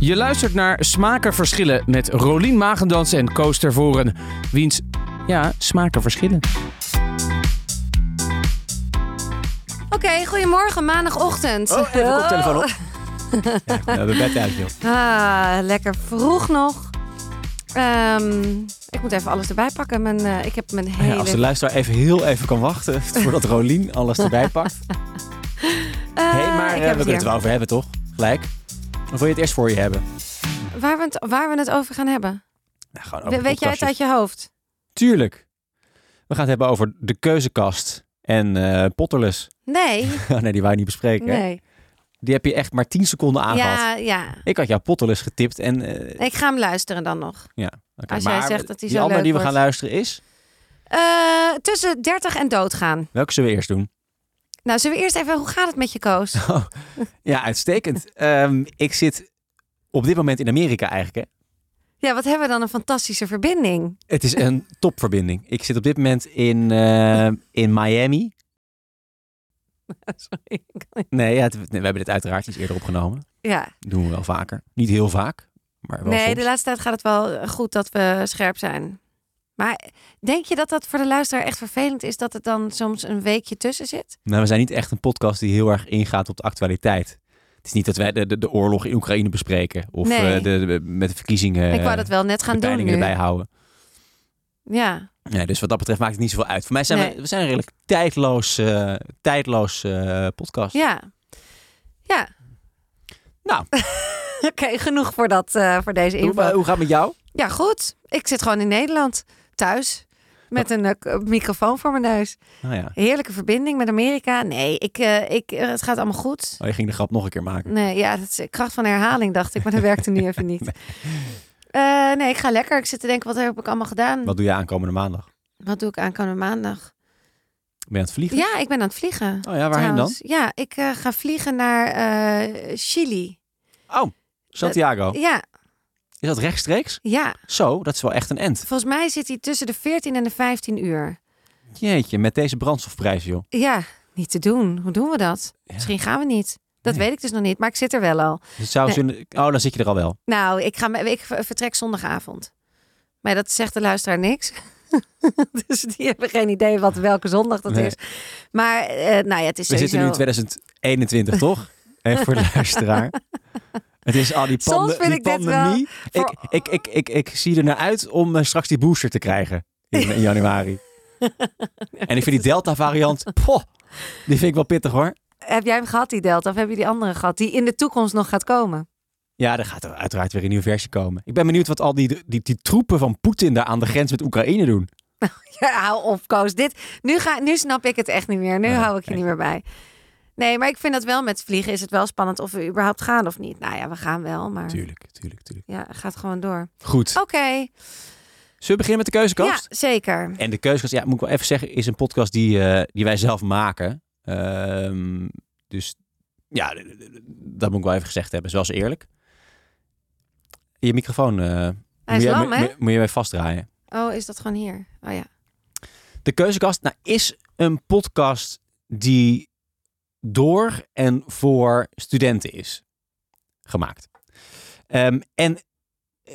Je luistert naar Smaken Verschillen met Rolien Magendans en Koos Tervoren. Wiens, ja, smaken verschillen. Oké, goedemorgen, maandagochtend. Oh, even koptelefoon op. Ja, Oh. we hebben bed uit, joh. Ah, lekker vroeg nog. Ehm, ik moet even alles erbij pakken. Mijn, eh, ik heb mijn hele... Ja, als de luisteraar even heel even kan wachten voordat Rolien alles erbij pakt. Eh, hey, maar eh, ik we kunnen heb het het hier. wel over hebben, toch? Gelijk. Of wil je het eerst voor je hebben? Waar, we het, waar we het over gaan hebben. Nou, gewoon We- over Weet jij het podcastjes. uit je hoofd? Tuurlijk. We gaan het hebben over de keuzekast en eh Potterless. Nee, Oh, nee, die wou je niet bespreken. hè? nee. Die heb je echt maar 10 seconden aangehad. Ja, ja. Ik had jouw Potterless getipt en... eh, Ik ga hem luisteren dan nog. oké, als jij maar zegt dat die die zo andere leuk die we wordt. gaan luisteren is... Eh, tussen 30 en doodgaan. Welke zullen we eerst doen? Nou, zullen we eerst even... Hoe gaat het met je, Koos? Ja, uitstekend. Ehm, ik zit op dit moment in Amerika eigenlijk, hè? Ja, wat hebben we dan een fantastische verbinding. Het is een topverbinding. Ik zit op dit moment in, eh, in Miami. Sorry. Nee, ja, het- nee, we hebben dit uiteraard iets eerder opgenomen. Ja, Doen we wel vaker. Niet heel vaak, maar wel nee, soms. de laatste tijd gaat het wel eh, goed dat we scherp zijn. Maar denk je dat dat voor de luisteraar echt vervelend is dat het dan soms een weekje tussen zit? Nou, we zijn niet echt een podcast die heel erg ingaat op de actualiteit. Het is niet dat wij de, de, de oorlog in Oekraïne bespreken. Of Nee. eh, de, de- met de verkiezingen ik wou dat eh, wel net gaan de doen peilingen nu. erbij houden. Ja, Nee, dus wat dat betreft maakt het niet zoveel uit. Voor mij zijn Nee. we, we zijn een redelijk tijdloos, eh, tijdloos eh, podcast. ja. Ja. Nou. Oké, genoeg voor, dat, eh, voor deze hoe, eh, info. hoe gaat het met jou? Ja, goed. Ik zit gewoon in Nederland, thuis, met een eh, k- microfoon voor mijn neus. Nou ja, Heerlijke verbinding met Amerika. Nee, ik, eh, ik, eh, het gaat allemaal goed. oh, je ging de grap nog een keer maken. Nee, ja, dat is de kracht van herhaling, dacht ik. Maar dat werkte nu even niet. Eh, nee, ik ga lekker. Ik zit te denken, wat heb ik allemaal gedaan? Wat, Wat doe je aankomende maandag? doe ik aankomende maandag? Ben je aan het vliegen? Ja, ik ben aan het vliegen. Oh ja, waarheen dan? trouwens. Ja, ik eh, ga vliegen naar eh, Chili. Oh, Santiago. Ja, Is dat rechtstreeks? ja, Zo, dat is wel echt een end. volgens mij zit hij tussen de 14 en de 15 uur. Jeetje, met deze brandstofprijs, joh. Ja, niet te doen. Hoe doen we dat? Ja. Misschien gaan we niet. Dat Nee. weet ik dus nog niet, maar ik zit er wel al. Dus het zou Nee. zin- Oh, dan zit je er al wel. Nou, ik, ga, me- ik ver- vertrek zondagavond. Maar dat zegt de luisteraar niks. dus die hebben geen idee wat welke zondag dat Nee. is. Maar eh, nou ja, het is We zitten nu in sowieso... 2021, toch? En voor de luisteraar. Het is al die, Soms pande- vind die ik dit wel pandemie. voor- Ik, ik, ik, ik, ik zie er naar uit om eh, straks die booster te krijgen in, in januari. En ik vind die Delta-variant, poh, die vind ik wel pittig hoor. Heb jij hem gehad, die Delta? Of heb je die andere gehad? Die in de toekomst nog gaat komen? Ja, er gaat er uiteraard weer een nieuwe versie komen. Ik ben benieuwd wat al die, die, die troepen van Poetin daar aan de grens met Oekraïne doen. Ja, hou op, Koos. Dit, nu, ga, nu snap ik het echt niet meer. Nu Nee, hou ik je nee. niet meer bij. Nee, maar ik vind dat wel met vliegen is het wel spannend of we überhaupt gaan of niet. Nou ja, we gaan wel, maar Tuurlijk, tuurlijk, tuurlijk. ja, gaat gewoon door. Goed. Oké, Zullen we beginnen met de ja, keuzekast? zeker. En de keuzekast, ja, moet ik wel even zeggen, is een podcast die, eh, die wij zelf maken. Ehm, dus ja, d- d- d- dat moet ik wel even gezegd hebben, zoals eerlijk. Je microfoon, eh, Hij is moet, lam, je, hè? moet, moet je even vastdraaien. Oh, is dat gewoon hier? Oh ja. De Keuzekast nou, is een podcast die door en voor studenten is gemaakt. Ehm, en eh,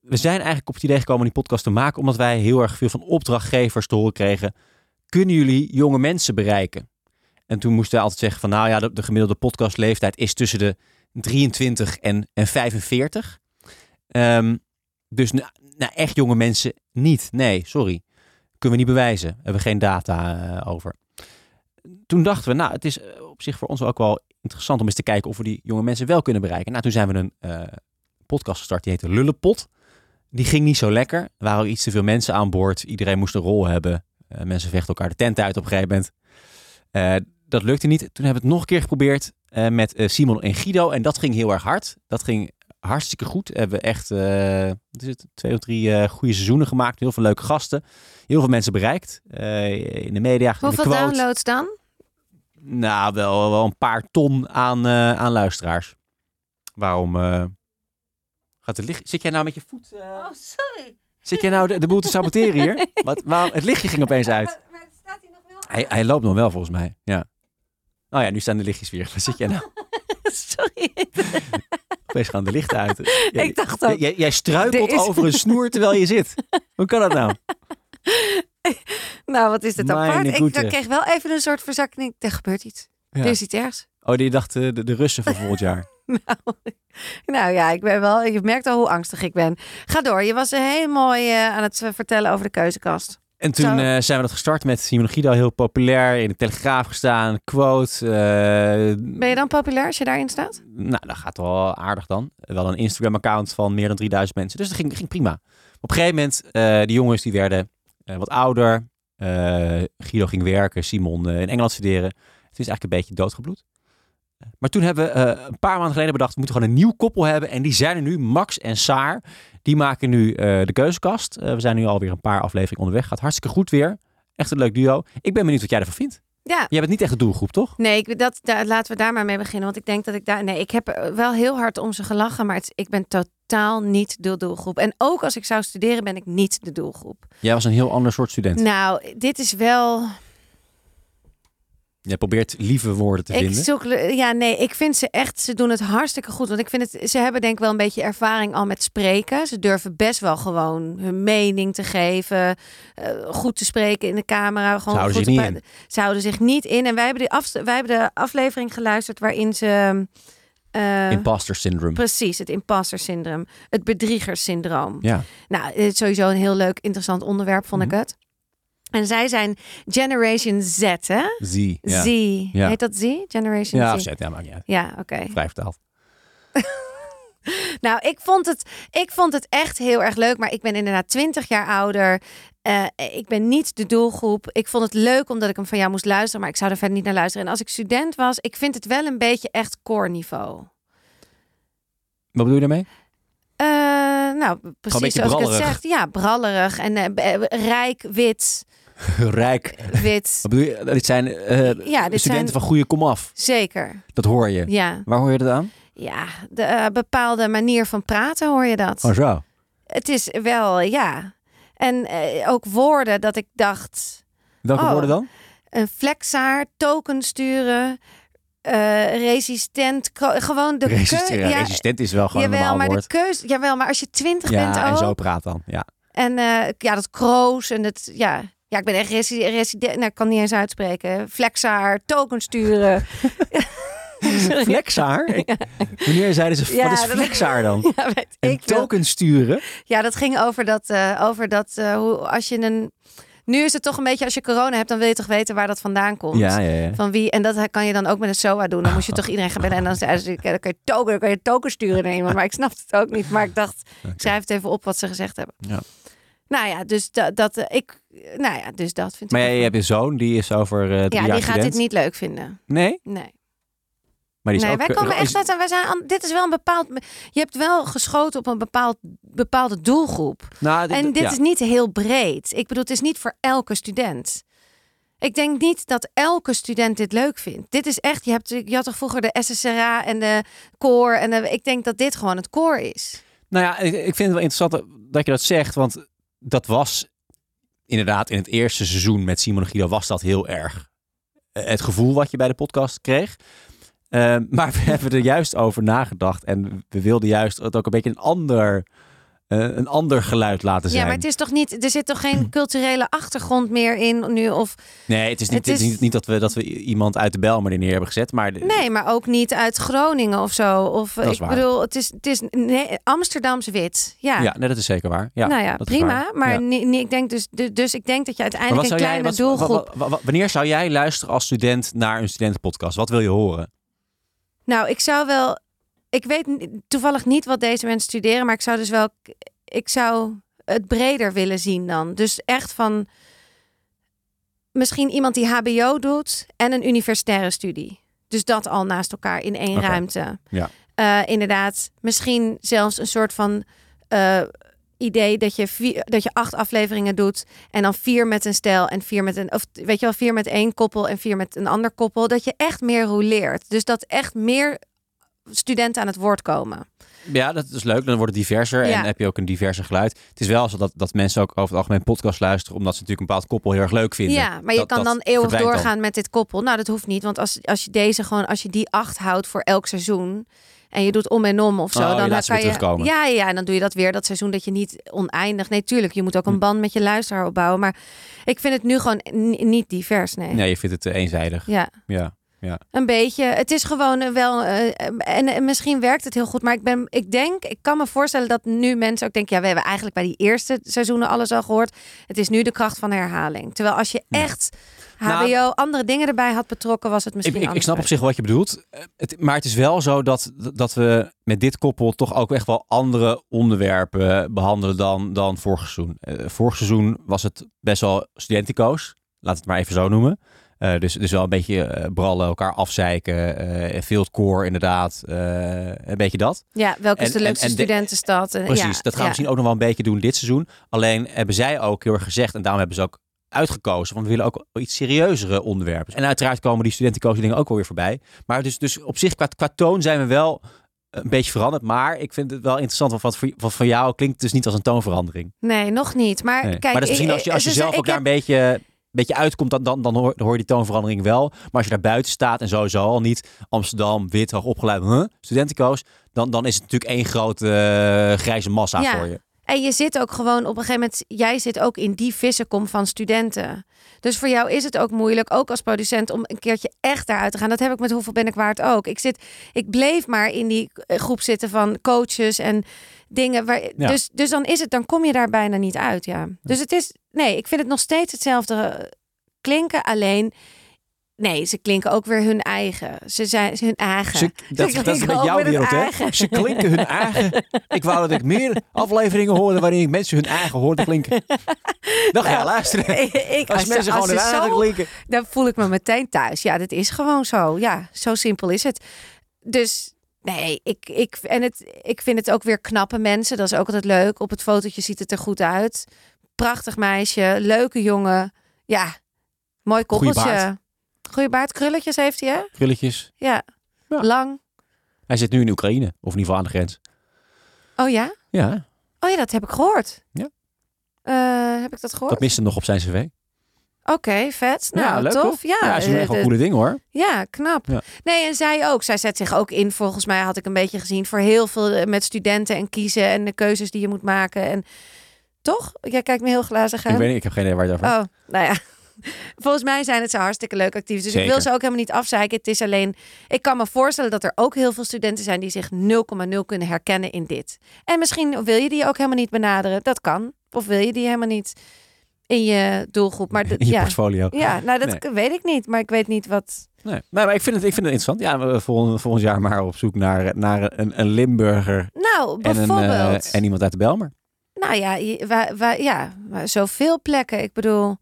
we zijn eigenlijk op het idee gekomen om die podcast te maken, omdat wij heel erg veel van opdrachtgevers te horen kregen. Kunnen jullie jonge mensen bereiken? En toen moesten we altijd zeggen van nou ja, de, de gemiddelde podcastleeftijd is tussen de 23 en, en 45. Ehm, dus nou, nou, echt jonge mensen niet. Nee, sorry kunnen we niet bewijzen. Hebben we geen data eh, over. Toen dachten we, nou, het is eh, op zich voor ons ook wel interessant om eens te kijken of we die jonge mensen wel kunnen bereiken. Nou, toen zijn we een eh, podcast gestart, die heette Lullepot. Die ging niet zo lekker. Er waren ook iets te veel mensen aan boord. Iedereen moest een rol hebben. Eh, mensen vechten elkaar de tent uit op een gegeven moment. Eh, dat lukte niet. Toen hebben we het nog een keer geprobeerd eh, met eh, Simon en Guido. En dat ging heel erg hard. Dat ging hartstikke goed. Hebben we echt eh, wat is het, twee of drie eh, goede seizoenen gemaakt. Heel veel leuke gasten. Heel veel mensen bereikt. eh, in de media. in de Hoeveel quotes. downloads dan? Nou, wel, wel een paar ton aan, eh, aan luisteraars. Waarom eh, gaat het licht... Zit jij nou met je voet... eh, Oh, sorry. Zit jij nou de, de boel te saboteren hier? Wat, waarom, het lichtje ging opeens uit. staat hier nog wel? Hij, hij loopt nog wel volgens mij, ja. Oh ja, nu staan de lichtjes weer. Waar zit jij nou? Sorry. Wat opeens gaan de lichten uit. Ja, ik dacht ook, jij, jij struikelt Er is- over een snoer terwijl je zit. Hoe kan dat nou? nou wat is dit Mijn apart. Ik goede. kreeg wel even een soort verzakking. Er gebeurt iets. Ja. Er is iets ergs. Oh, die dacht eh, de, de Russen van volgend jaar. Nou, nou ja, ik ben wel, je merkt al hoe angstig ik ben. Ga door, je was heel mooi eh, aan het eh, vertellen over de keuzekast. En toen Zo. eh, zijn we dat gestart met Simon Guido, heel populair. In de Telegraaf gestaan, quote. eh, Ben je dan populair als je daarin staat? Nou, dat gaat wel aardig dan. Wel een Instagram-account van meer dan 3000 mensen. Dus dat ging, ging prima. Op een gegeven moment, eh die jongens die werden eh, wat ouder. Eh, Guido ging werken, Simon eh, in Engeland studeren. Het is eigenlijk een beetje doodgebloed. Maar toen hebben we eh, een paar maanden geleden bedacht... we moeten gewoon een nieuw koppel hebben. En die zijn er nu, Max en Saar. Die maken nu eh, de keuzekast. Eh, we zijn nu alweer een paar afleveringen onderweg. Gaat hartstikke goed weer. Echt een leuk duo. Ik ben benieuwd wat jij ervan vindt. Ja. Jij bent niet echt de doelgroep, toch? Nee, ik, dat, daar- laten we daar maar mee beginnen. Want ik denk dat ik daar... Nee, ik heb eh, wel heel hard om ze gelachen. Maar het, ik ben totaal niet de doelgroep. En ook als ik zou studeren, ben ik niet de doelgroep. Jij was een heel ander soort student. Nou, dit is wel... Jij probeert lieve woorden te Ik vinden. zoek, ja, nee, ik vind ze echt, ze doen het hartstikke goed. Want ik vind het, ze hebben denk ik wel een beetje ervaring al met spreken. Ze durven best wel gewoon hun mening te geven. eh, goed te spreken in de camera. Gewoon Ze houden goed zich te niet pra- Ze houden zich niet in. En wij hebben, die afs- wij hebben de aflevering geluisterd waarin ze... eh, Imposter syndrome. Precies, het imposter syndroom. Het bedriegerssyndroom. Ja. Mhm. Nou, het is sowieso een heel leuk, interessant onderwerp, vond ik het. En zij zijn Generation Z, hè? Zie. Ja. Z. Ja. Heet dat Z? Generation Ja, Z. afzet. Ja, maakt niet uit. Ja, oké. Vrij vertaald. Nou, ik vond, het, ik vond het echt heel erg leuk. Maar ik ben inderdaad 20 jaar ouder. Eh, ik ben niet de doelgroep. Ik vond het leuk omdat ik hem van jou moest luisteren. Maar ik zou er verder niet naar luisteren. En als ik student was, ik vind het wel een beetje echt core niveau. Wat bedoel je daarmee? Eh, nou, precies beetje zoals ik het brallerig. zeg. Ja, brallerig en eh, b- eh, rijk, wit, Rijk. wit. Wat bedoel je? Dit zijn eh, Ja, studenten dit zijn... van goede komaf. Zeker, Dat hoor je. ja. Waar hoor je dat aan? Ja, de eh, bepaalde manier van praten hoor je dat. Oh zo. Het is wel, ja. En eh, ook woorden dat ik dacht... Welke Oh. woorden dan? een flexaar, token sturen, eh, resistent, kro- gewoon de Resistent, keu- ja, resistent is wel gewoon een jawel, normaal maar de woord. keus, jawel, maar als je twintig bent Ja, ook en zo praat dan. Ja. en eh, ja dat kroos en dat ja, ja ik ben echt resi- resident, nou ik kan niet eens uitspreken, flexaar, token sturen, Sorry. Flexaar? Ik- Wanneer zeiden ze, Ja, wat is dat- flexaar dan? ja, weet En ik wel. token sturen? Ja, dat ging over dat, eh, over dat eh, hoe als je een nu is het toch een beetje als je corona hebt, dan wil je toch weten waar dat vandaan komt. Ja, ja, ja. Van wie? En dat kan je dan ook met een SOA doen. Dan moest je toch iedereen gaan bellen. En dan, zei ze, dan kun je token, dan kun je token sturen naar iemand. Maar ik snapte het ook niet. Maar ik dacht, ik schrijf het even op wat ze gezegd hebben. Ja. Nou ja, dus dat, dat eh, ik, nou ja, dus dat vind Maar ik. jij, jij hebt een zoon, die is over eh drie ja, jaar die gaat dit student. niet leuk vinden. Nee? Nee, Maar die is nee ook, wij komen eh, echt uit en wij zijn. an- Dit is wel een bepaald. Je hebt wel geschoten op een bepaald, bepaalde doelgroep. Nou, En dit ja. is niet heel breed. Ik bedoel, het is niet voor elke student. Ik denk niet dat elke student dit leuk vindt. Dit is echt, je, hebt, je had toch vroeger de SSRA en de koor. En de- ik denk dat dit gewoon het koor is. Nou ja, ik, ik vind het wel interessant dat- dat je dat zegt, want dat was inderdaad in het eerste seizoen met Simon en Guido was dat heel erg eh, het gevoel wat je bij de podcast kreeg. Eh, maar we hebben er juist over nagedacht en we wilden juist het ook een beetje een ander, eh, een ander geluid laten zijn. Ja, maar het is toch niet, er zit toch geen culturele achtergrond meer in nu? Of, nee, het is, niet, het het is is- niet, niet dat, we, dat we i- iemand uit de bel maar neer hebben gezet, maar de- nee, maar ook niet uit Groningen of zo. Of, is ik waar. bedoel, het is, het is nee, Amsterdams wit. Ja. ja, nee, dat is zeker waar. Ja, nou ja, dat is prima. waar. Maar Ja. ni- ni- ik denk dus, dus- dus ik denk dat je Maar uiteindelijk wat een zou jij, wat, kleine wat- doelgroep. wat- wat- wat- wanneer zou jij luisteren als student naar een studentenpodcast? Wat wil je horen? Nou, ik zou wel. Ik weet ni- toevallig niet wat deze mensen studeren, maar ik zou dus wel. Ik zou het breder willen zien dan. Dus echt van. Misschien iemand die HBO doet en een universitaire studie. Dus dat al naast elkaar in één Oké. ruimte. Ja. Eh, inderdaad, misschien zelfs een soort van eh, idee dat je, vier, dat je acht afleveringen doet en dan vier met een stijl en vier met een of weet je wel vier met één koppel en vier met een ander koppel dat je echt meer roleert dus dat echt meer studenten aan het woord komen Ja, dat is leuk. Dan wordt het diverser Ja. en heb je ook een diverser geluid. Het is wel zo dat, dat mensen ook over het algemeen podcast luisteren, omdat ze natuurlijk een bepaald koppel heel erg leuk vinden. ja maar je Dat- kan dat dan eeuwig verdwijnt dan. doorgaan met dit koppel nou dat hoeft niet want als, als je deze gewoon als je die acht houdt voor elk seizoen en je doet om en om of zo, Oh, je dan laat ze kan weer terugkomen. Ja, ja, en dan doe je dat weer dat seizoen dat je niet oneindig. Nee, tuurlijk, je moet ook Hm. een band met je luisteraar opbouwen, maar ik vind het nu gewoon ni- niet divers, nee. Nee, je vindt het eh, eenzijdig. Ja. Ja. Een beetje. Het is gewoon eh, wel. eh, en, en misschien werkt het heel goed. Maar ik, ben, ik denk, ik kan me voorstellen dat nu mensen ook denken. Ja, we hebben eigenlijk bij die eerste seizoenen alles al gehoord. Het is nu de kracht van herhaling. Terwijl als je Ja. echt HBO Nou- andere dingen erbij had betrokken, was Ik, het misschien. ik, ik snap op anders. zich wat je bedoelt. Eh, Het, maar het is wel zo dat, dat we met dit koppel toch ook echt wel andere onderwerpen behandelen dan, dan vorig seizoen. Eh, vorig seizoen was het best wel studentico's. Laat het maar even zo noemen. Eh, dus, dus wel een beetje eh, brallen, elkaar afzeiken. eh fieldcore inderdaad. eh, een beetje dat. Ja, welke is En- de en- leukste en de- studentenstad? En- Precies, dat ja, gaan ja. we misschien ook nog wel een beetje doen dit seizoen. Alleen hebben zij ook heel erg gezegd, en daarom hebben ze ook uitgekozen, want we willen ook iets serieuzere onderwerpen. En uiteraard komen die studentenkozen dingen ook wel weer voorbij. Maar dus, dus op zich, qua, qua toon zijn we wel een beetje veranderd. Maar ik vind het wel interessant, want wat, voor- wat van jou klinkt het dus niet als een toonverandering. Nee, nog niet. Maar Nee. Eh, kijk, maar dat is ik- misschien als je, als je dus zelf ik ook daar heb- een beetje, een beetje uitkomt, dan, dan, dan, hoor, dan hoor je die toonverandering wel. Maar als je daar buiten staat en sowieso al niet Amsterdam, wit, hoog opgeleid, huh, studentenkoos, dan, dan is het natuurlijk één grote eh, grijze massa Ja. voor je. En je zit ook gewoon op een gegeven moment, jij zit ook in die vissenkom van studenten. Dus voor jou is het ook moeilijk, ook als producent, om een keertje echt daaruit te gaan. Dat heb ik met Hoeveel Ben ik waard ook. Ik, zit, ik bleef maar in die eh, groep zitten van coaches en dingen. Waar, Ja. dus, dus dan is het, dan kom je daar bijna niet uit. Ja. Dus het is, nee, ik vind het nog steeds hetzelfde eh, klinken, alleen. Nee, ze klinken ook weer hun eigen. Ze zijn ze- hun eigen. Ze, dat, klinken dat is met ook jouw met het wereld, hè? eigen. Ze klinken hun eigen. Ik wou dat ik meer afleveringen hoorde waarin ik mensen hun eigen hoorde klinken. Dan ga je luisteren. Ik- ik- Als, ze- mensen gewoon als hun ze eigen zo klinken. dan voel ik me meteen thuis. Ja, dat is gewoon zo. Ja, zo simpel is het. Dus nee, ik, ik, en het, ik vind het ook weer knappe mensen. Dat is ook altijd leuk. Op het fotootje ziet het er goed uit. Prachtig meisje, leuke jongen. Ja, mooi Goeie koppeltje. baard. Goeie baard, krulletjes heeft hij, hè? Krulletjes. Ja. Ja. Lang. Hij zit nu in Oekraïne, of in ieder geval aan de grens. Oh ja? Ja, Oh ja, dat heb ik gehoord. Ja. Eh, heb ik dat gehoord? dat miste nog op zijn cv. Oké, vet. Nou, ja, leuk tof. toch? Ja, ze doen eh, echt wel de- coole dingen hoor. Ja, knap. Ja. Nee, en zij ook. Zij zet zich ook in, volgens mij had ik een beetje gezien, voor heel veel eh, met studenten en kiezen en de keuzes die je moet maken. En toch? Jij kijkt me heel glazig Ik aan. weet niet, ik heb geen idee waar je het over Oh, nou ja. Volgens mij zijn het ze hartstikke leuk actief. Dus ik Zeker. wil ze ook helemaal niet afzeiken. Het is alleen, ik kan me voorstellen dat er ook heel veel studenten zijn die zich 0,0 kunnen herkennen in dit. En misschien wil je die ook helemaal niet benaderen. Dat kan. Of wil je die helemaal niet in je doelgroep. Maar dat- in je ja. portfolio. ja, nou dat weet ik niet. Maar ik weet niet wat. Nee. Nee, maar ik vind het, ik vind het interessant. Ja, we- volgend, volgend jaar maar op zoek naar, naar een, een Limburger Nou, en, een, eh, bijvoorbeeld. en iemand uit de Belmer. Nou ja, je- wa- wa- ja, maar zoveel plekken. Ik bedoel,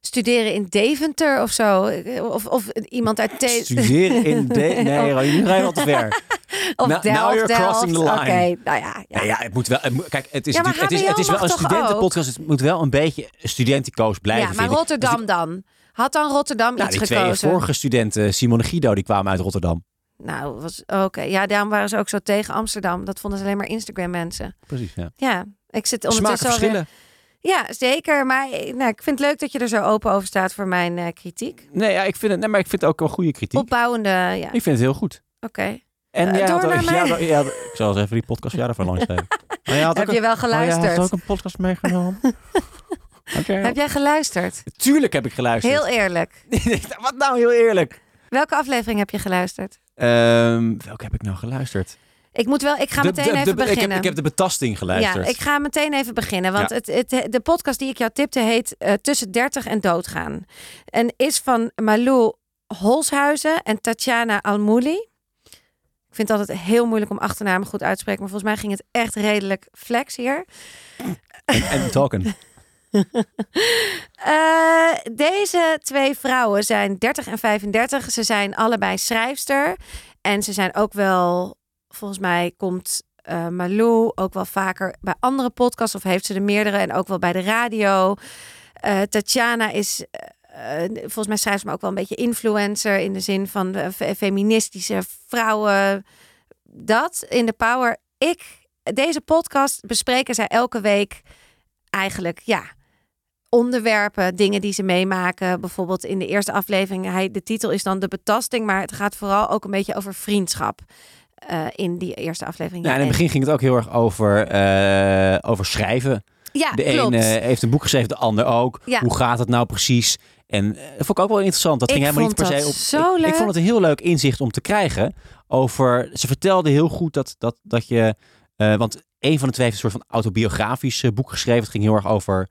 studeren in Deventer of zo. Of, of iemand uit Deventer. Studeren in de... Nee, Oh. Ronnie, nu ga je wel te ver. Of Now- now Delft. Nou, you're Delft. crossing the line. Oké, nou ja. ja. Ja, ja, het moet wel. het moet- kijk, het is, Ja, maar natuurlijk- het is, het is HBO wel een mag toch studentenpodcast. dus Het moet wel een beetje studenticoos blijven. ja, maar vind ik. Rotterdam dan. Had dan Rotterdam Nou, iets die twee gekozen? vorige studenten, Simon en Guido, die kwamen uit Rotterdam. Nou, was oké. Ja, daarom waren ze ook zo tegen Amsterdam. Dat vonden ze alleen maar Instagram mensen. Precies. Ja. Ja, ik zit Smaken ondertussen alweer- verschillen. Ja, zeker. Maar eh, nou, ik vind het leuk dat je er zo open over staat voor mijn eh, kritiek. Nee, ja, ik vind het, nee, maar ik vind het ook wel goede kritiek. Opbouwende, ja, oké. Ik vind het heel goed. En Eh, jij had door ook- naar jij mij. had ook- jij had- ik zal eens even die podcast van jou daarvan langs geven. Maar jij had ook Heb je een- wel maar jij geluisterd? had ook een podcast meegenomen. Oké. Heb jij geluisterd? Tuurlijk heb ik geluisterd. Heel eerlijk. Wat nou, heel eerlijk. Welke aflevering heb je geluisterd? Ehm, welke heb ik nou geluisterd? Ik moet wel, ik ga De- meteen de- de- even ik, heb, beginnen. ik heb de betasting ja, geluisterd. ik ga meteen even beginnen. Want Ja. het, het, de podcast die ik jou tipte heet eh, Tussen 30 en Doodgaan. En is van Malou Holshuizen en Tatjana Almouli. Ik vind het altijd heel moeilijk om achternamen goed uit te spreken. Maar volgens mij ging het echt redelijk flex hier. En Talken. Eh, deze twee vrouwen zijn 30 en 35. Ze zijn allebei schrijfster. En ze zijn ook wel, volgens mij komt eh Malou ook wel vaker bij andere podcasts. Of heeft ze er meerdere en ook wel bij de radio. Eh Tatjana is, eh, eh, volgens mij schrijft ze maar ook wel een beetje influencer. In de zin van de fe- feministische vrouwen. Dat in de power. Ik, deze podcast bespreken zij elke week eigenlijk, ja onderwerpen, dingen die ze meemaken. Bijvoorbeeld in de eerste aflevering, hij, de titel is dan De Betasting, maar het gaat vooral ook een beetje over vriendschap. eh, in die eerste aflevering. Nou, in het en- begin ging het ook heel erg over, eh, over schrijven. ja de Ah, klopt. een eh, heeft een boek geschreven, de ander ook. Ja. Hoe gaat het nou precies? En eh, dat vond ik ook wel interessant. Dat Ik ging helemaal niet vond per se dat op. zo ik, ik leuk. vond het een heel leuk inzicht om te krijgen. Over, ze vertelde heel goed dat, dat, dat je. eh, want een van de twee heeft een soort van autobiografisch eh, boek geschreven. Het ging heel erg over.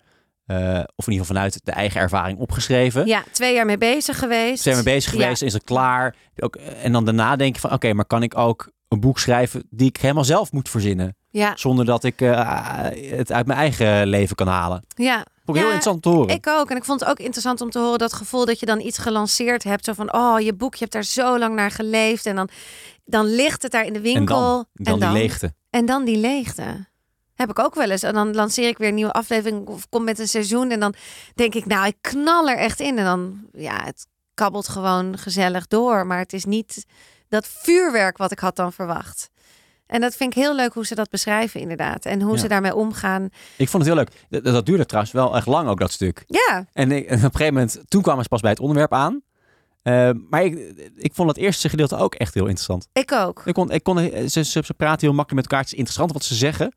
eh, of in ieder geval vanuit de eigen ervaring opgeschreven. ja, twee jaar mee bezig geweest. Zijn we bezig Ja. geweest? Is het klaar? Ook, eh, en dan daarna denk je van: oké, maar kan ik ook een boek schrijven die ik helemaal zelf moet verzinnen? Ja, Zonder dat ik eh, het uit mijn eigen leven kan halen. ja. Vond ik heel Ja, interessant om te horen. Ik ook. En ik vond het ook interessant om te horen dat gevoel dat je dan iets gelanceerd hebt. Zo van, oh, je boek, je hebt daar zo lang naar geleefd. En dan, dan ligt het daar in de En winkel. dan, dan en die leegte. En dan die leegte. Heb ik ook wel eens. En dan lanceer ik weer een nieuwe aflevering of kom met een seizoen. En dan denk ik, nou, ik knal er echt in. En dan, ja, het kabbelt gewoon gezellig door. Maar het is niet dat vuurwerk wat ik had dan verwacht. En dat vind ik heel leuk hoe ze dat beschrijven, inderdaad. En hoe Ja. ze daarmee omgaan. Ik vond het heel leuk. Dat, dat duurde trouwens wel echt lang ook, dat stuk. Ja, En, ik, en op een gegeven moment, toen kwamen ze pas bij het onderwerp aan. Eh, maar ik, ik vond het eerste gedeelte ook echt heel interessant. ik ook. Ik kon, ik kon, eh, ze, ze, ze praten heel makkelijk met elkaar. Het is interessant wat ze zeggen. ik,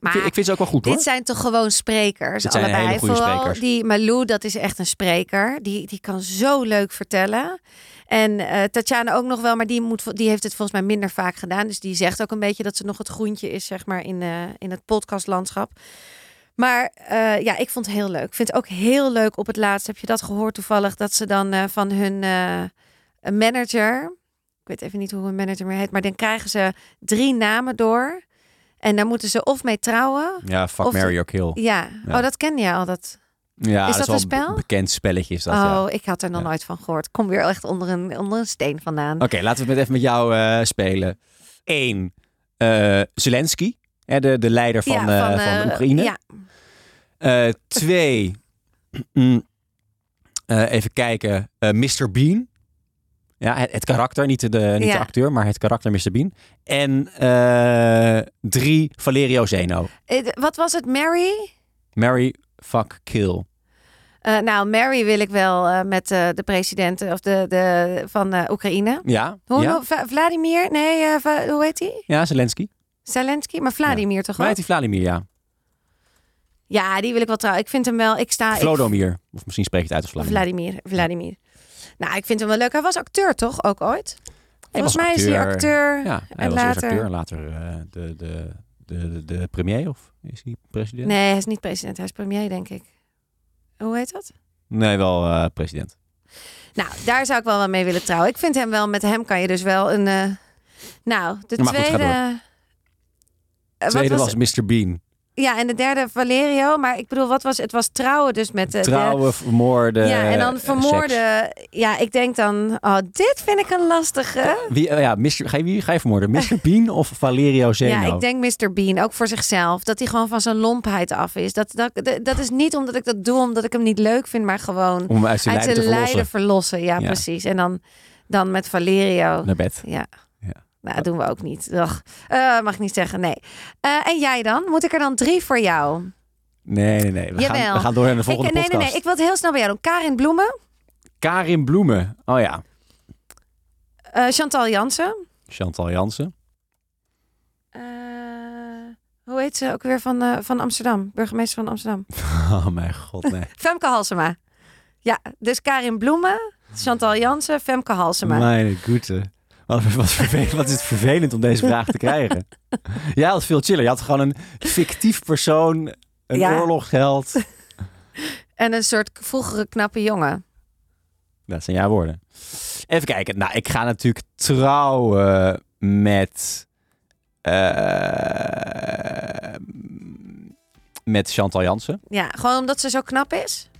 Maar vind, ik vind ze ook wel goed hoor. Dit zijn toch gewoon sprekers Dit zijn allebei. hele goede Vooral sprekers. die Malou, dat is echt een spreker. Die, die kan zo leuk vertellen. En eh, Tatjana ook nog wel, maar die, moet, vol- die heeft het volgens mij minder vaak gedaan. Dus die zegt ook een beetje dat ze nog het groentje is, zeg maar, in, eh, in het podcastlandschap. Maar eh, ja, ik vond het heel leuk. Ik vind het ook heel leuk op het laatst. Heb je dat gehoord toevallig? Dat ze dan eh, van hun eh, een manager. Ik weet even niet hoe hun manager meer heet. Maar dan krijgen ze drie namen door. En daar moeten ze of mee trouwen. Ja, fuck, Of- Mary or kill. Ja. Ja. oh, dat ken je al. Dat... Ja, Is dat wel een spel? be- bekend spelletje is dat, oh, ja. ik had er nog Ja. Oh, nooit van gehoord. Kom weer echt onder een, onder een steen vandaan. Oké, laten we het met- even met jou eh, spelen. Eén, eh, Zelensky, hè, de, de leider van, eh, van, eh, de Oekraïne. Ja, Eh, twee, mm, eh, even kijken, eh Mr. Bean. Ja, het, het karakter, niet, de, niet de Ja. acteur, maar het karakter Mr. Bean. En eh, drie, Valerio Zeno. Eh, d- Wat was het, Mary? Mary, fuck, kill. Eh, nou, Mary wil ik wel eh, met eh, de president eh, of de, de, van eh, Oekraïne. Ja, Hoe, ja, no- Va- Vladimir? Nee, eh, Va- hoe heet hij? ja Zelensky. Zelensky? Maar Vladimir toch Maar wel? heet hij Vladimir, ja. Ja, die wil ik wel trouwen. Ik vind hem wel... Ik sta, Ah, ik- Vlodomir. Of misschien spreek je het uit als Vladimir. Vladimir. Vladimir. Nou, ik vind hem wel leuk. Hij was acteur toch ook ooit? Volgens was mij is hij acteur. acteur. Ja, hij En was eerst later- acteur en later eh, de, de, de, de, de premier, of is hij president? Nee, hij is niet president. Hij is premier, denk ik. Hoe heet dat? Nee, wel eh, president. Nou, daar zou ik wel wat mee willen trouwen. Ik vind hem wel, met hem kan je dus wel een. eh, Nou, de Maar goed, ga tweede. door. eh, wat Tweede was- was, Mr. Bean. Ja, en de derde Valerio. Maar ik bedoel, wat was het? Was trouwen dus met de. de- Trouwen, vermoorden. ja, en eh, dan vermoorden. Ja, ik denk dan. Oh, dit vind ik een lastige. seks. Wie, eh, ja, Mr. Ga, je, wie ga je vermoorden? Mr. Bean of Valerio Zeno? Ja, ik denk Mr. Bean, ook voor zichzelf. Dat hij gewoon van zijn lompheid af is. Dat, dat, dat is niet omdat ik dat doe, omdat ik hem niet leuk vind, maar gewoon. Om hem uit zijn uit lijden zijn te verlossen. lijden verlossen. Ja, Ja. precies. En dan, dan met Valerio. Naar bed. Ja. Ja. Nou, dat doen we ook niet. Ugh. Eh, mag ik niet zeggen, nee. Eh, en jij dan? Moet ik er dan drie voor jou? Nee, nee, nee. We, gaan, Jawel. we gaan door naar de Ik, volgende nee, nee, nee. podcast. Ik wil het heel snel bij jou doen. Karin Bloemen, Karin Bloemen. Oh ja. eh, Chantal Jansen. Chantal Jansen. Eh, hoe heet ze ook weer van, eh, van Amsterdam? Burgemeester van Amsterdam. Oh mijn god, nee. Femke Halsema. Ja, dus Karin Bloemen, Chantal Jansen, Femke Halsema. Mijn goede. Wat, wat, vervelend, wat is het vervelend om deze vraag te krijgen. Jij had veel chiller. Je had gewoon een fictief persoon, een Ja. oorlogsheld. En een soort vroegere knappe jongen. Dat zijn jouw woorden. Even kijken. Nou, ik ga natuurlijk trouwen met. eh, met Chantal Jansen. Ja, gewoon omdat ze zo knap is.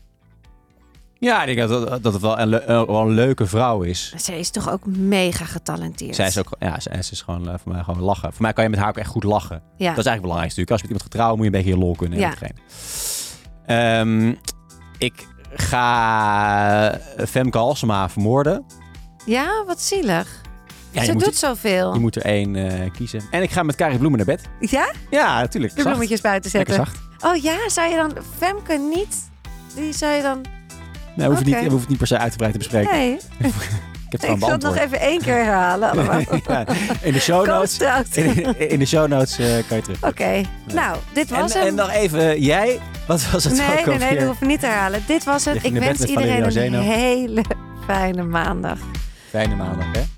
Ja, ik denk dat, dat het wel een, le- eh, wel een leuke vrouw is. Ze is toch ook mega getalenteerd. Zij is ook, ja, ze, ze is gewoon eh, voor mij gewoon lachen. Voor mij kan je met haar ook echt goed lachen. Ja. Dat is eigenlijk belangrijk natuurlijk. Als je met iemand gaat trouwen, moet je een beetje je lol kunnen. Ja. Ja. Ehm, ik ga Femke Halsema vermoorden. ja, wat zielig. Ja, je, ze moet, doet zoveel. je moet er één eh, kiezen. En ik ga met Karin Bloemen naar bed. Ja? Ja, natuurlijk. De bloemetjes buiten Lekker zetten. zacht. Oh ja, zou je dan Femke niet? Die zou je dan... Nee, we, hoeven Oké. niet, we hoeven het niet per se uitgebreid te bespreken. Nee. Ik heb Ik gewoon zal het nog beantwoord. even één keer herhalen. allemaal. Ja, in de show notes, Coast out. in, in de show notes eh, kan je terug. Oké, nou, dit En, was hem. en nog even, eh, jij, wat was het ook nee, nee, alweer? nee, dat hoef ik niet te herhalen. Dit was Je het. ging Ik naar bed wens met Valerio iedereen een Zeno. hele fijne maandag. Fijne maandag, hè?